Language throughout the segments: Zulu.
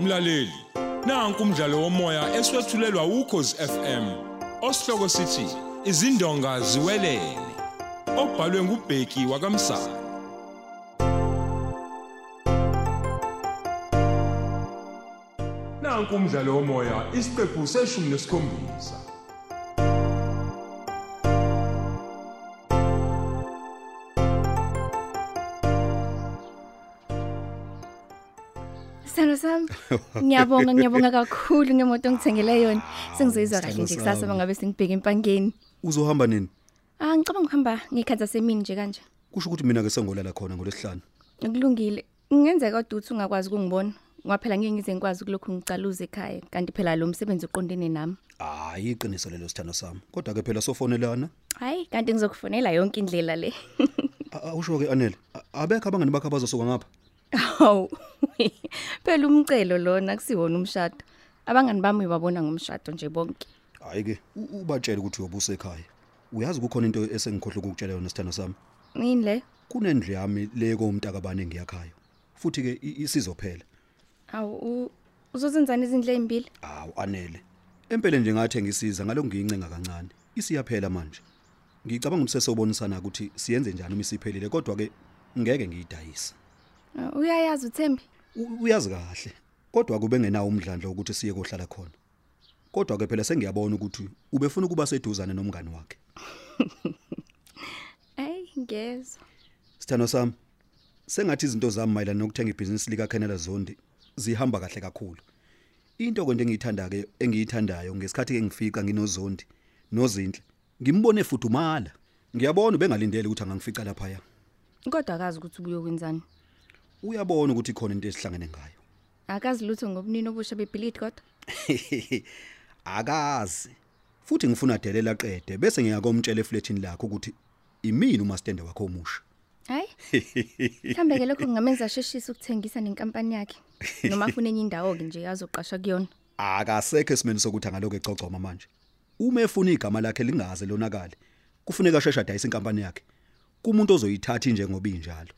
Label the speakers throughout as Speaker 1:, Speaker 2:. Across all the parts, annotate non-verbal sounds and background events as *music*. Speaker 1: Mlaleli, nanku umdlalo womoya eswetshulelwa ukhozi FM. Osihloko sithi izindonga ziwelele. Obhalwe ngubheki wakamsa. Nanku umdlalo womoya isiqephu seshumi nesikhombisa.
Speaker 2: Sithando sami. Ngiyabonga, ngiyabonga kakhulu ngemoto ongithengele yona. Sengizizwa kahle
Speaker 3: sithando
Speaker 2: nje kusasa
Speaker 3: sami.
Speaker 2: bangabe sengibheka empangeni.
Speaker 3: uzohamba nini
Speaker 2: Ah, ngicabanga ukuhamba ngikhanza semini nje kanje.
Speaker 3: kusho ukuthi mina ke sengolala khona ngolesihlanu
Speaker 2: Kulungile. Kungenzeka uduthi ungakwazi ukungibona. Ngaphela ngeke ngize ngikwazi kulokhu ngicaluza ekhaya kanti phela lo msebenzi uqondene nami.
Speaker 3: hayi iqiniso lelo sithando sami kodwa ke phela sofonelana
Speaker 2: Hayi, kanti ngizokufonela yonke indlela le.
Speaker 3: usho ke anele a- abekho abangani bakho abazosuka ngapha
Speaker 2: Hawu. Phela umcelo lona kusiwona umshado. Abangani bami uyababona ngomshado nje bonke.
Speaker 3: hayi ke u- ubatshele ukuthi uyobusa ekhaya uyazi kukhona into esengikhohle ukukutshela yona sithando sami
Speaker 2: Yini le?
Speaker 3: kunendlu yami le komntakabane engiyakhayo futhi ke i- isizophela
Speaker 2: Awu, uzozenzana izindle ezimbili?
Speaker 3: hawu anele empeleni nje ngathi ngisiza ngalo ngiyincenga kancane isiyaphela manje ngicabanga umsesobonisana ukuthi siyenze njani uma isiphelile kodwa ke ngeke ngiyidayise
Speaker 2: Ah, Uyayazi uThembi?
Speaker 3: U- uyazi kahle kodwa kube ngenawo umdlandla ukuthi siye kohlala khona kodwa ke phela sengiyabona ukuthi ubefuna ukuba seduzane nomngani wakhe
Speaker 2: Ayi ngezwe.
Speaker 3: sithando sami sengathi izinto zami mayelana nokuthenga ibhizinisi lika Canada Zondi zihamba kahle kakhulu into konke engiyithanda ke engiyithandayo ngesikhathi ke ngifika nginozondi nozinhle ngimbone futhi umala ngiyabona bengalindele ukuthi angangifica lapha ya
Speaker 2: Kodwa akazi ukuthi ubuye kwenzani.
Speaker 3: uyabona ukuthi khona into esihlangene ngayo
Speaker 2: Akazi lutho ngobunini obusha bebelid kodwa.
Speaker 3: *laughs* akazi futhi ngifuna delela qede bese ngiyakomtshela eflatini lakho ukuthi imini umastende wakho omusha
Speaker 2: Hayi. Mhlambe ke lokho kungamenza sheshisa ukuthengisa nenkampani yakhe. Noma afuna enye indawo ke nje azoqasha kuyona.
Speaker 3: akasekho esimeni sokuthi angaloko ecocoma manje uma efuna igama lakhe lingaze lonakale kufuneka shesha dayisa inkampani yakhe kumuntu ozoyithatha nje ngoba injalo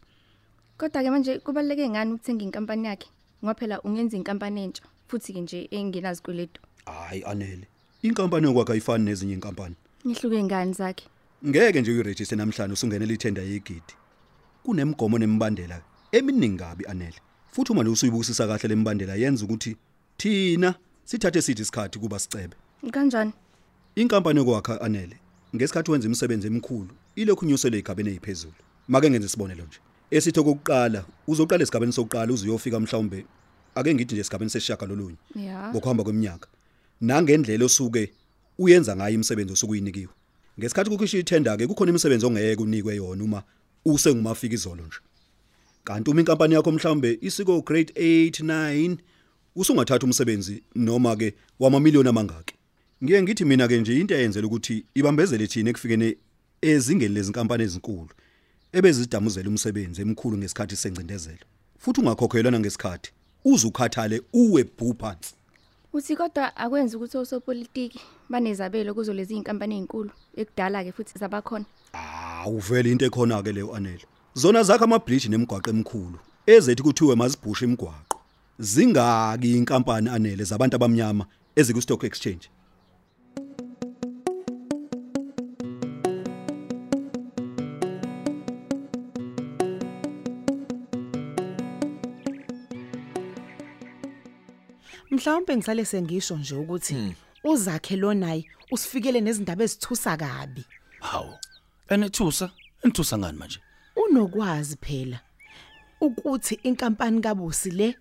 Speaker 2: Kodwa ke manje kubaleke ngani ukuthenga inkampani yakhe? Ngoba phela ungenza inkampani entsha futhi ke nje engenazikweletu.
Speaker 3: hayi anele inkampani yokwakha ifani nezinye inkampani
Speaker 2: Nihluke ngani zakhe?
Speaker 3: ngeke nje uyiregister namhlanje usungenela ithenda yegidi kunemgomo nemibandela eminingi kabi anele futhi uma usuyibukisisa kahle lemibandela yenza ukuthi thina sithathe sithi isikhathi kuba sicebe
Speaker 2: Kanjani?
Speaker 3: inkampani yokwakha anele ngesikhathi wenza imisebenzi emikhulu ilokhu unyusele igabeni eziphezulu make ngenze isibonelo nje esitho kokuqala uzoqala esigabeni sokuqala uzuyofika mhlawumbe ake ngithi nje esigabeni sesishaka lolunye
Speaker 2: Ya.
Speaker 3: ngokuhamba kweminyaka nangendlela osuke uyenza ngayo imisebenzi osuke uyinikiwe ngesikhathi kukhishwa ithenda ke kukhona imisebenzi ongeke unikwe yona uma usengumafika izolo nje kanti uma inkampani yakho mhlawumbe isiko grade 8 9 usungathatha umsebenzi noma ke wamamiliyoni amangaki ngiye ngithi mina ke nje into eyenzela ukuthi ibambezele thina ekufikene ezingeni lezinkampani ezinkulu ebezidamuzela umsebenzi emkhulu ngesikhathi sencindezelo futhi ungakhokhelwana ngesikhathi uze ukhathale uwe bhu phansi
Speaker 2: Uthi kodwa akwenzi ukuthi osopolitiki banezabelo kuzo lezi inkampani ezinkulu ekudala ke futhi zabakhona.
Speaker 3: Hawu vele into ekhona ke leyo anele. Zona zakho amabridge nemigwaqo emkhulu ezethi kuthiwe mazibhushe imigwaqo. Zingaki inkampani anele zabantu abamnyama eziku stock exchange.
Speaker 4: Mhlawumbe ngisale sengisho nje
Speaker 5: Hmm.
Speaker 4: ukuthi uzakhe lonayi usifikele nezindaba ezithusa kabi.
Speaker 5: Hawu. Enethusa, enthusa ngani manje?
Speaker 4: Unokwazi phela ukuthi inkampani kaBusi le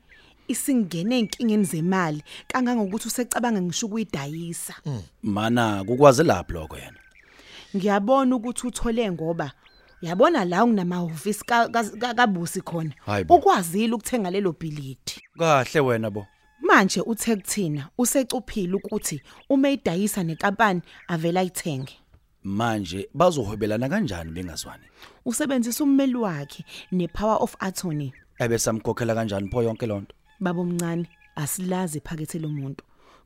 Speaker 4: isingene enkingeni zemali kangangokuthi usecabanga ngisho ukuyidayisa.
Speaker 5: Hmm. Mana kukwazi lapho lokho yena.
Speaker 4: Ngiyabona ukuthi uthole ngoba Yabona la unamahofisi ka- ka- ka- kaBusi khona
Speaker 5: Hayi bo.
Speaker 4: ukwazile ukuthenga lelo bhilidi
Speaker 5: Kahle wena bo.
Speaker 4: manje uthe kuthina usecuphile ukuthi uma idayisa nenkampani avela ithenge
Speaker 5: Manje bazohwebelana kanjani bengazwani?
Speaker 4: usebenzisa ummeli wakhe nepower of attorney
Speaker 5: Ebesamkhokhela kanjani pho yonke lonto?
Speaker 4: baba omncane asilazi iphakethe lomuntu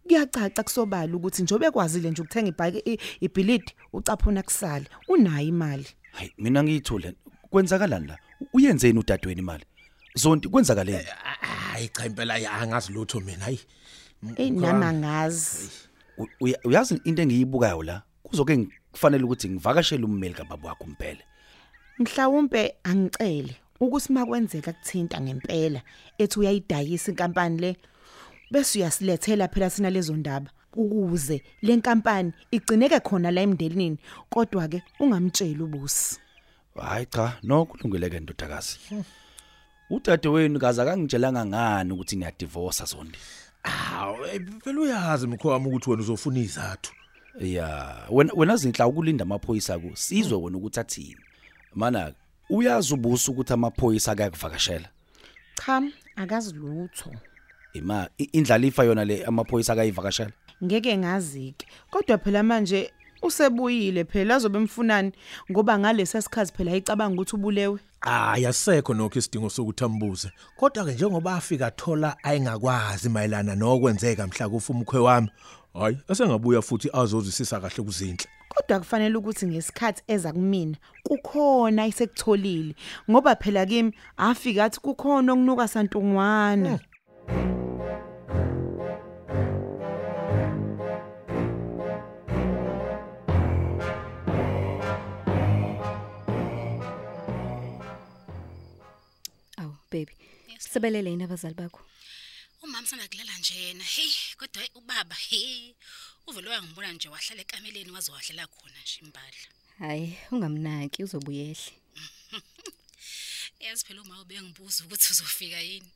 Speaker 4: kuyacaca kusobala ukuthi njobe kwazile nje ukuthenga ibhaki i- ibhilidi ucaphuna kusale unayo imali
Speaker 5: Hayi mina ngiyithule. Kwenzakalani la? Uyenzeni udadweni imali? Zonke kwenzakaleni?
Speaker 6: hayi cha impela ya angazi lutho mina hayi
Speaker 4: Ey nami angazi.
Speaker 5: U- uya- uyazi into engiyibukayo la kuzoke ngifanele ukuthi ngivakashele ummeli kababa wakho mphele
Speaker 4: Mhlawumbe angicele ukuthi makwenzeka kuthinta ngempela ethi uyayidayisa inkampani le bese uyasilethela phela sina lezo ndaba ukuze le nkampani igcineke khona la emndelinini kodwa ke ungamtshela ubusi.
Speaker 5: hayi cha nokulungeleke ndodakazi udade wenu kaze akangitshelanga ngani ukuthi niyadivorsa sondi
Speaker 6: hawu eh, phela uyazi mkhwami ukuthi wena uzofuna izathu
Speaker 5: ya wena wena zinhla ukulinda amaphoyisa ku sizwe wena ukuthi athini mana uyazi ubusa ukuthi amaphoyisa akakuvakashela
Speaker 4: Cha, akazi lutho.
Speaker 5: ima i- indlalifa yona le amaphoyisa akayivakashela
Speaker 4: Ngeke ngazike. Kodwa phela manje usebuyile phela azobe mfunani ngoba ngalesa sikhazi phela icabanga ukuthi ubulewe.
Speaker 6: hayi asekho nokho isidingo sokuthi ambuze kodwa ke njengoba afika thola ayengakwazi mayelana nokwenzeka mhla kufuma ukhwe wami hayi asengabuya futhi azozwisisa kahle kuzinhle
Speaker 4: kodwa kufanele ukuthi ngesikhathi eza kumina kukhona isekutholile ngoba phela kimi afika athi kukhona okunuka santungwana
Speaker 2: awu baby sebelele yini abazali bakho
Speaker 7: umama sandakulala njena hey kodwa hhayi, ubaba hey uvele wangibona nje wahlala ekameleni waze wadlela khona nje impahla
Speaker 2: hayi ungamnaki uzobuyehle
Speaker 7: yazi phela uma ubengibuza ukuthi uzofika yini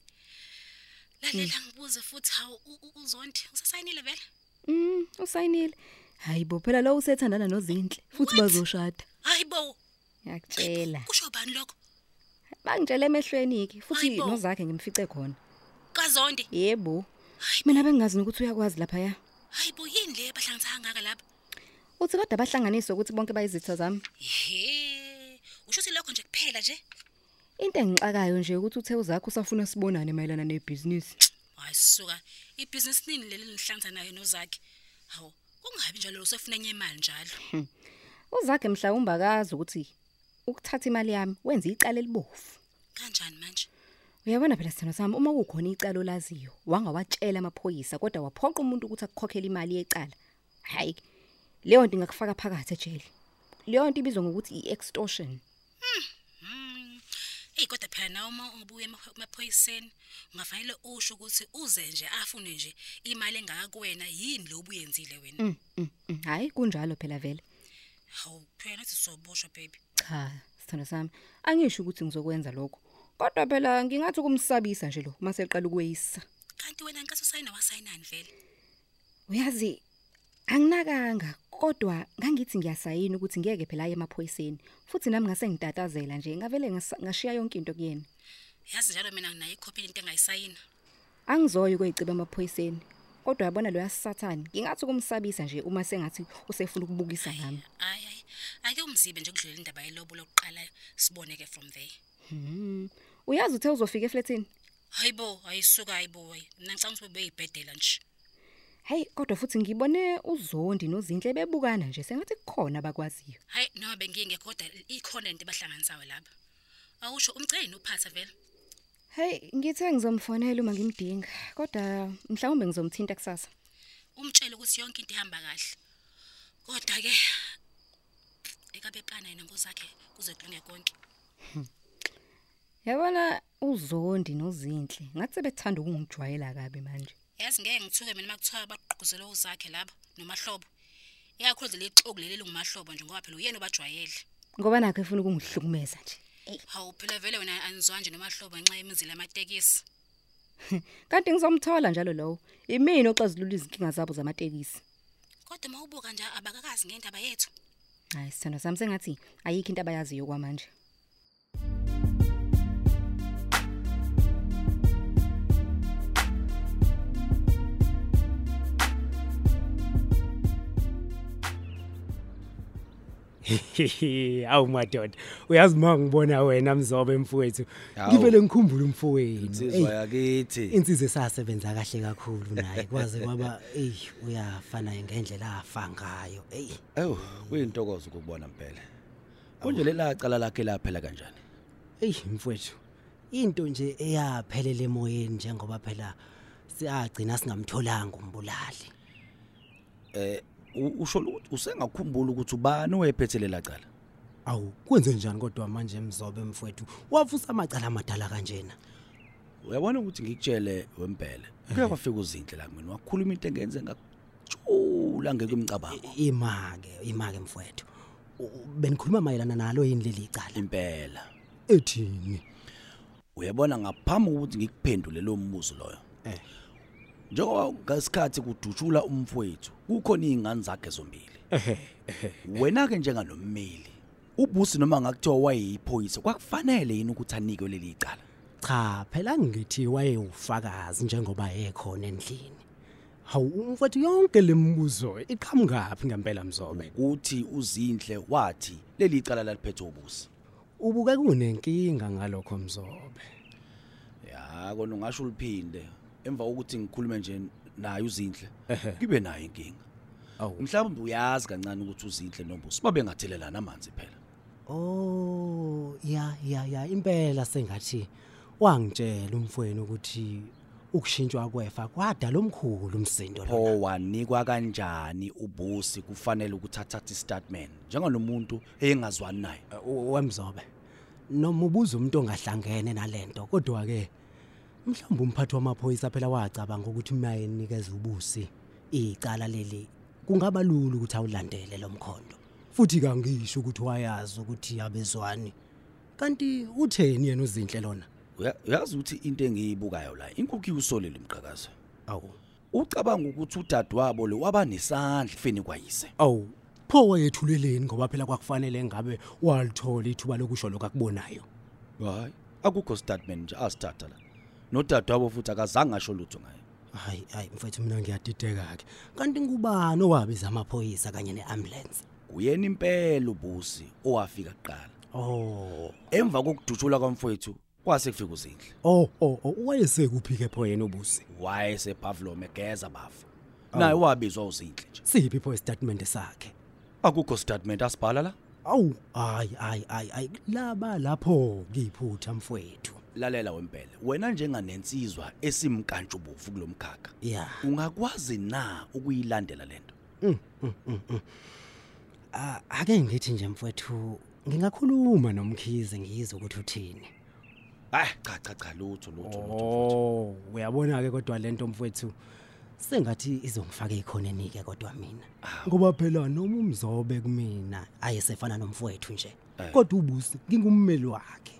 Speaker 7: lalela ngibuze futhi hawu u- u- uzondi usasayinile vele
Speaker 2: mm usayinile hayi bo phela lo usethandana nozinhle futhi bazoshada
Speaker 7: hayi bo
Speaker 2: yakutshela
Speaker 7: kusho bani lokho
Speaker 2: bangitshela emehlweni ke futhi
Speaker 7: Hayi bo.
Speaker 2: nozakhe ngimfice khona
Speaker 7: kazondi
Speaker 2: yebo
Speaker 7: Hayi
Speaker 2: mina bengingazi ukuthi uyakwazi lapha ya
Speaker 7: hayi bo yini le bahlanganisa kangaka lapha
Speaker 2: uthi kodwa bahlanganiswe ukuthi bonke bayizitho zami
Speaker 7: he usho ukuthi lokho nje kuphela nje
Speaker 2: into engixakayo nje ukuthi uthe uzakho usafuna sibonane mayelana nebhizinisi
Speaker 7: hayi suka ibhizinisi nini leli lihlanza nayo nozakhe hawu kungabi njalo usefuna enye imali njalo
Speaker 2: uzakhe mhlawumbe akazi ukuthi ukuthatha imali yami wenze icala elibofu
Speaker 7: kanjani manje
Speaker 2: uyabona phela sithando sami uma kukhona icala olaziyo wangawatshela amaphoyisa kodwa waphoqa umuntu ukuthi akukhokhele imali yecala hayi leyo nto ingakufaka phakathi ejele leyo nto ibizwa ngokuthi i-extortion
Speaker 7: Mm. Ey kodwa phela nawe uma ungabuye emapho- emaphoyiseni ungafanele usho ukuthi uze nje afune nje imali engaka kuwena yini lo obuyenzile wena.
Speaker 2: Mm, mm, mm. hayi kunjalo phela vele
Speaker 7: Hawu phela nathi soboshwa baby.
Speaker 2: cha sithando sami angisho ukuthi ngizokwenza lokho kodwa phela ngingathi ukumsabisa nje lo maseqala ukweyisa
Speaker 7: Kanti wena inkaso sayina wasayinani vele?
Speaker 2: uyazi anginakanga kodwa ngangithi ngiyasayina ukuthi ngeke phela aye emaphoyiseni futhi nami ngase ngitatazela nje ngavele ngasa- ngashiya yonke into kuyena
Speaker 7: Yazi njalo mina nginayo ikhophi into engayisayina.
Speaker 2: angizoyi ukuyiciba emaphoyiseni kodwa yabona lo yasathane ngingathi ukumsabisa nje uma sengathi usefuna ukubukisa nami
Speaker 7: Ayi ayi. Ake umzibe nje kudlule indaba yelobo lokuqala siboneke from there.
Speaker 2: hmm. uyazi uthe uzofika efletini
Speaker 7: Hayibo ayisuka hayibo hayi. Mina ngicanga ukuthi bebeyibhedela nje.
Speaker 2: hayi kodwa futhi ngibone uzondi nozinhle bebukana nje sengathi kukhona abakwaziyo
Speaker 7: Hayi noma bengingekho kodwa ikhona into bahlanganisayo lapha. Awusho umceli nophatha vele.
Speaker 2: hayi ngithe ngizomfonela uma ngimdinga kodwa mhlawumbe ngizomthinta kusasa
Speaker 7: umtshele ukuthi yonke into ihamba kahle kodwa ke ekabe plana yena ngozakhe kuze kulunge konke
Speaker 2: yabona uzondi nozinhle ngathi sebethanda ukungijwayela kabi manje
Speaker 7: yazi ngeke ngithuke mina makuthiwa baqhuquzela uzakhe lapha nomahlobo ikakhulu nje lexoku leli lingumahlobo nje ngoba phela uyena obajwayele
Speaker 2: ngoba nakho efuna ukungihlukumeza nje
Speaker 7: hawu phela vele wena anizwa nje nomahlobo ngenxa yemizila amatekisi
Speaker 2: kanti ngizomthola njalo lowo imini oxazulula izinkinga zabo zamatekisi
Speaker 7: kodwa uma ubuka nje abakakazi ngendaba yethu
Speaker 2: hayi sithando sami sengathi ayikho into abayaziyo kwamanje
Speaker 8: awu madoda uyazi uma ngibona wena mzobe mfowethu
Speaker 5: Hawu.
Speaker 8: ngivele ngikhumbula umfowenu
Speaker 5: insizwa
Speaker 8: Eyi,
Speaker 5: yakithi
Speaker 8: insizwe esasebenza kahle kakhulu naye kwaze kwaba eyi uyafanayo ngendlela afa ngayo eyi
Speaker 5: ewu kuyintokozo ukubona mphele kunje lela cala lakhe laphela kanjani
Speaker 8: eyi mfowethu into nje eyaphelela emoyeni njengoba phela siyagcina singamtholanga umbulali
Speaker 5: U- usho ukuthi usengakhumbula ukuthi ubani owayephethelela cala
Speaker 8: awu kwenze njani kodwa manje mzobe mfowethu wavusa amacala amadala kanjena
Speaker 5: uyabona ukuthi ngikutshele wempela kuye kwafika uzinhle la mina wakhuluma into engenze ngakujula ngekwimicabango
Speaker 8: imake imake mfowethu U- u- benikhuluma mayelana nalo yini leli icala
Speaker 5: impela
Speaker 8: ethini
Speaker 5: uyabona ngaphambi kokuthi ngikuphendule lo mbuzo loyo
Speaker 8: Eh.
Speaker 5: njengoba ngasikhathi kudutshula umfowethu kukhona izingane zakhe zombili wena ke njengalommeli ubusi noma ngakuthiwa wayeyiphoyisa kwakufanele yini ukuthi anikwe leli cala
Speaker 8: cha phela ngithi wayewufakazi njengoba ekhona endlini hawu umfowethu yonke lemibuzo iqhamukaphi ngempela mzobe
Speaker 5: ukuthi uzinhle wathi leli cala laliphethe ubusi
Speaker 8: ubuke kunenkinga ngalokho mzobe
Speaker 5: ya kona ungasho uliphinde emva kokuthi ngikhulume nje naye uzinhle ngibe nayo inkinga
Speaker 8: Awu.
Speaker 5: mhlawumbe uyazi kancane ukuthi uzinhle nobusi babengathelelana amanzi phela
Speaker 8: Oh ya ya ya impela sengathi wangitshela umfweni ukuthi ukushintshwa kwefa kwadala omkhulu umsindo lo.
Speaker 5: pho wanikwa kanjani ubusi kufanele ukuthi athathe istatement njengalomuntu eyengazwani naye
Speaker 8: Wemzobe. Noma ubuza umuntu ongahlangene nalento kodwa ke mhlawumbe umphathi wamaphoyisa phela wacabanga ukuthi maye nikeza ubusi icala leli kungaba lulu ukuthi awulandele lo mkhondo. Futhi kangisho ukuthi wayazi ukuthi abezwani. Kanti utheni yena uzinhle lona?
Speaker 5: Uya- uyazi ukuthi into engiyibukayo la inkukhu iwusolele umqhakazo
Speaker 8: Awu.
Speaker 5: ucabanga ukuthi udadewabo lo waba nesandla fini kwayise
Speaker 8: awu pho wayethuleleni ngoba phela kwakufanele ngabe walithola ithuba lokusho lokho akubonayo
Speaker 5: hayi akukho statement nje asithatha la nodadewabo futhi akazange asho lutho ngaye
Speaker 8: hayi hayi mfethu mina ngiyadideka-ke kanti ngubani owabiza amaphoyisa kanye ne-ambulance
Speaker 5: kuyena impela ubusi owafika kuqala
Speaker 8: oh
Speaker 5: emva kokudutshulwa kwamfowethu kwase kufika uzinhle
Speaker 8: oh oh oh, wayesekuphi-ke pho yena ubusi
Speaker 5: wayesepavlom egeza bafa naye wabizwa uzinhle nje
Speaker 8: siphi pho isitatimende sakhe
Speaker 5: akukho statement asibhala la
Speaker 8: awu hayi hayi hayi hayi laba lapho kiphutha mfowethu
Speaker 5: lalela wempela wena njenganensizwa esimkantshubovu kulomkhakha
Speaker 8: ya
Speaker 5: ungakwazi na ukuyilandela lento
Speaker 8: Ah, ake ngithi nje mfowethu ngingakhuluma nomkhize ngizwe ukuthi uthini
Speaker 5: hayi cha cha cha lutho lutho lutho
Speaker 8: Oh, uyabona ke kodwa lento mfowethu sengathi izongifaka ekhoneni ke kodwa mina. Ngoba phela noma umzobe kumina ayesefana nomfowethu nje. Kodwa ubusi ngingummeli wakhe.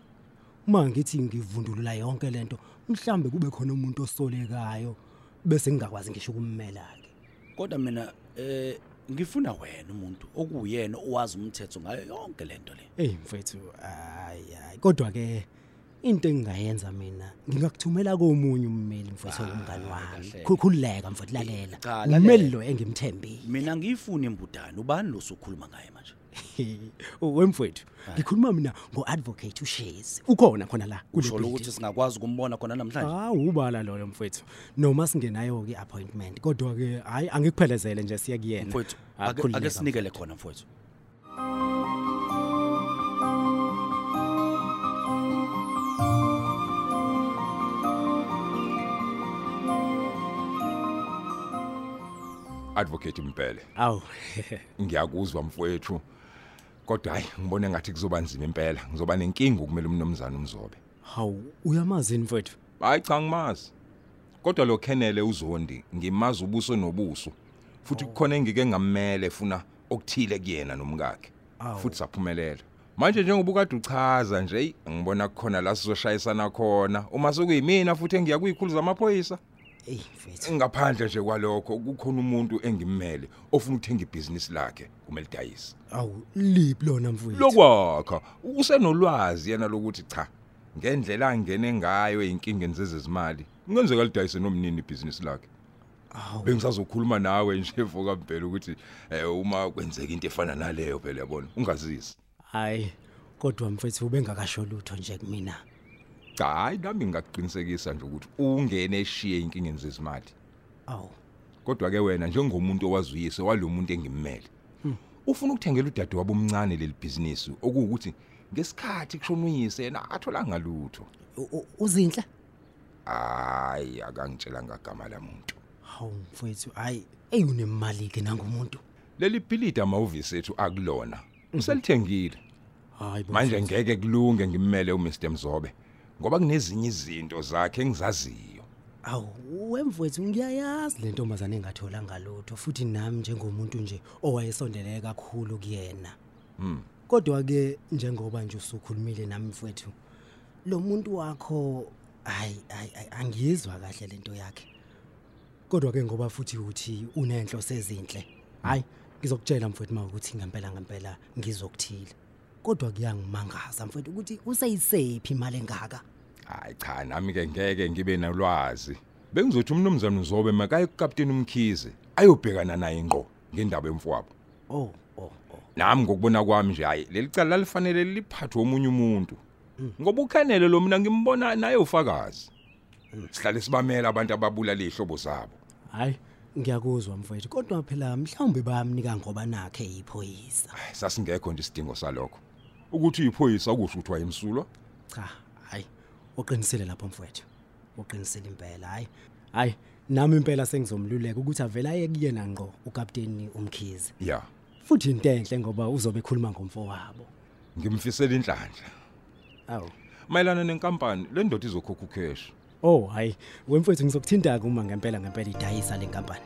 Speaker 8: Uma ngithi ngivundulula yonke lento, mhlambe kube khona umuntu osolekayo bese ngingakwazi ngisho ukummela ke.
Speaker 5: kodwa mina eh ngifuna wena umuntu okuyena owazi umthetho ngayo yonke lento le
Speaker 8: Ey mfowethu, ayi ayi kodwa ke into engingayenza mina ngingakuthumela komunye ummeli mfowethu umngani wami.
Speaker 5: Ah, kahle.
Speaker 8: Khululeka mfowethu lalela.
Speaker 5: Cha, lalela.
Speaker 8: Ummeli lo engimthembile.
Speaker 5: *laughs* mina ngiyifuna imbudane ubani losukhuluma ngaye manje
Speaker 8: wemfowethu Ah. ngikhuluma mina ngo-advocate ushezi ukhona khona la kule
Speaker 5: usho
Speaker 8: building.
Speaker 5: ukuthi singakwazi ukumbona khona namhlanje
Speaker 8: Hawu, ubala loyo mfowethu noma singenayo-ke i-appointment kodwa-ke hhayi angikuphelezele nje siya kuyena
Speaker 5: mfowethu
Speaker 8: Ah,
Speaker 5: ake-
Speaker 8: khululeka.
Speaker 5: ake sinikele khona mfowethu
Speaker 1: Advocate Mpele.
Speaker 8: awu
Speaker 1: Ngiyakuzwa mfowethu. Kodwa hayi ngibona ngathi kuzoba nzima impela. Ngizoba nenkinga ukumele umnumzana umzobe.
Speaker 8: *laughs* hawu uyamazini mfowethu
Speaker 1: Hayi cha ngimazi. Kodwa lo Kennele uzondi ngimazi ubuso nobuso. Futhi kukhona engike ngamele funa okuthile kuyena nomkakhe. Futhi saphumelela. Manje njengoba ukade uchaza nje eyi, ngibona kukhona la sizoshayisana khona uma sekuyimina futhi engiya kuyikhulu zamaphoyisa.
Speaker 8: eyi mfowethu
Speaker 1: Ngaphandle nje kwalokho kukhona umuntu engimmele ofuna ukuthenga ibhizinisi lakhe kumele dayise.
Speaker 8: awu liphi lona mfowethu
Speaker 1: Lokwakha usenolwazi yena lokuthi cha ngendlela angene ngayo einkingeni zezezimali. Kungenzeka lidayise nomnini ibhizinisi lakhe.
Speaker 8: awu
Speaker 1: Bengisazokhuluma nawe nje foka mphele ukuthi eh, uma kwenzeka into efana naleyo phela yabona ungazisi.
Speaker 8: hhayi kodwa mfowethu ubengakasho lutho nje kumina
Speaker 1: Cha hayi nami ngakuqinisekisa nje ukuthi ungene eshiye inkingeni zezimali.
Speaker 8: awu
Speaker 1: Kodwa ke wena njengomuntu owazuyise walomuntu engimmele. Ufuna ukuthengela udade wabo omncane leli business okuwukuthi ngesikhathi kushona uyise yena atholanga lutho
Speaker 8: U- u- uzinhle
Speaker 1: hayi akangitshela ngagama la muntu
Speaker 8: hawu mfowethu hayi eyi unemali ke nangumuntu
Speaker 1: leli bhilidi amahhovisi ethu akulona uselithengile
Speaker 8: hayi bo.
Speaker 1: manje ngeke kulunge ngimele uMr Mzobe ngoba kunezinye izinto zakhe engizaziyo
Speaker 8: awu wemfowethu ngiyayazi le ntombazane engathola ngalutho futhi nami njengomuntu nje owayesondeleke kakhulu kuyena kodwa-ke njengoba nje usukhulumile nami mfowethu lo muntu wakho hayi hayi hayi, angiyizwa kahle lento yakhe kodwa-ke ngoba futhi uthi unenhloso ezinhle hhayi ngizokutshela mfowethu ma ukuthi ngempela ngempela ngizokuthile kodwa kuyangimangaza mfowethu ukuthi useyisephi imali engaka
Speaker 1: hayi cha nami ke ngeke ngibe nalwazi bengizothi umnumzana Mzobe makaye kuCaptain Umkhize ayobhekana naye ngqo ngendaba emfowabo
Speaker 8: oh oh oh
Speaker 1: nami ngokubona kwami nje hayi leli cala lifanele liphathwe omunye umuntu ngoba ukhenele lo mina ngimbona naye ufakazi sihlale sibamela abantu ababulala ihlobo zabo
Speaker 8: hayi ngiyakuzwa mfowethu kodwa phela mhlawumbe bayamnika ngoba nakhe iphoyisa
Speaker 1: Hayi, sasingekho nje isidingo salokho ukuthi uyiphoyisa akusho ukuthi wayemsulwa
Speaker 8: cha hayi uqinisile lapho mfowethu uqinisile impela hayi hayi nami impela sengizomluleka ukuthi avele aye kuyena ngqo ukapteni umkhize
Speaker 1: ya
Speaker 8: futhi into enhle ngoba uzobe ekhuluma ngomfo wabo
Speaker 1: ngimfisela inhlanhla
Speaker 8: awu
Speaker 1: mayelana nenkampani le ndoda izokhokha ukheshi
Speaker 8: oh hayi wemfowethu ngizokuthinta-ke uma ngempela ngempela idayisa le nkampani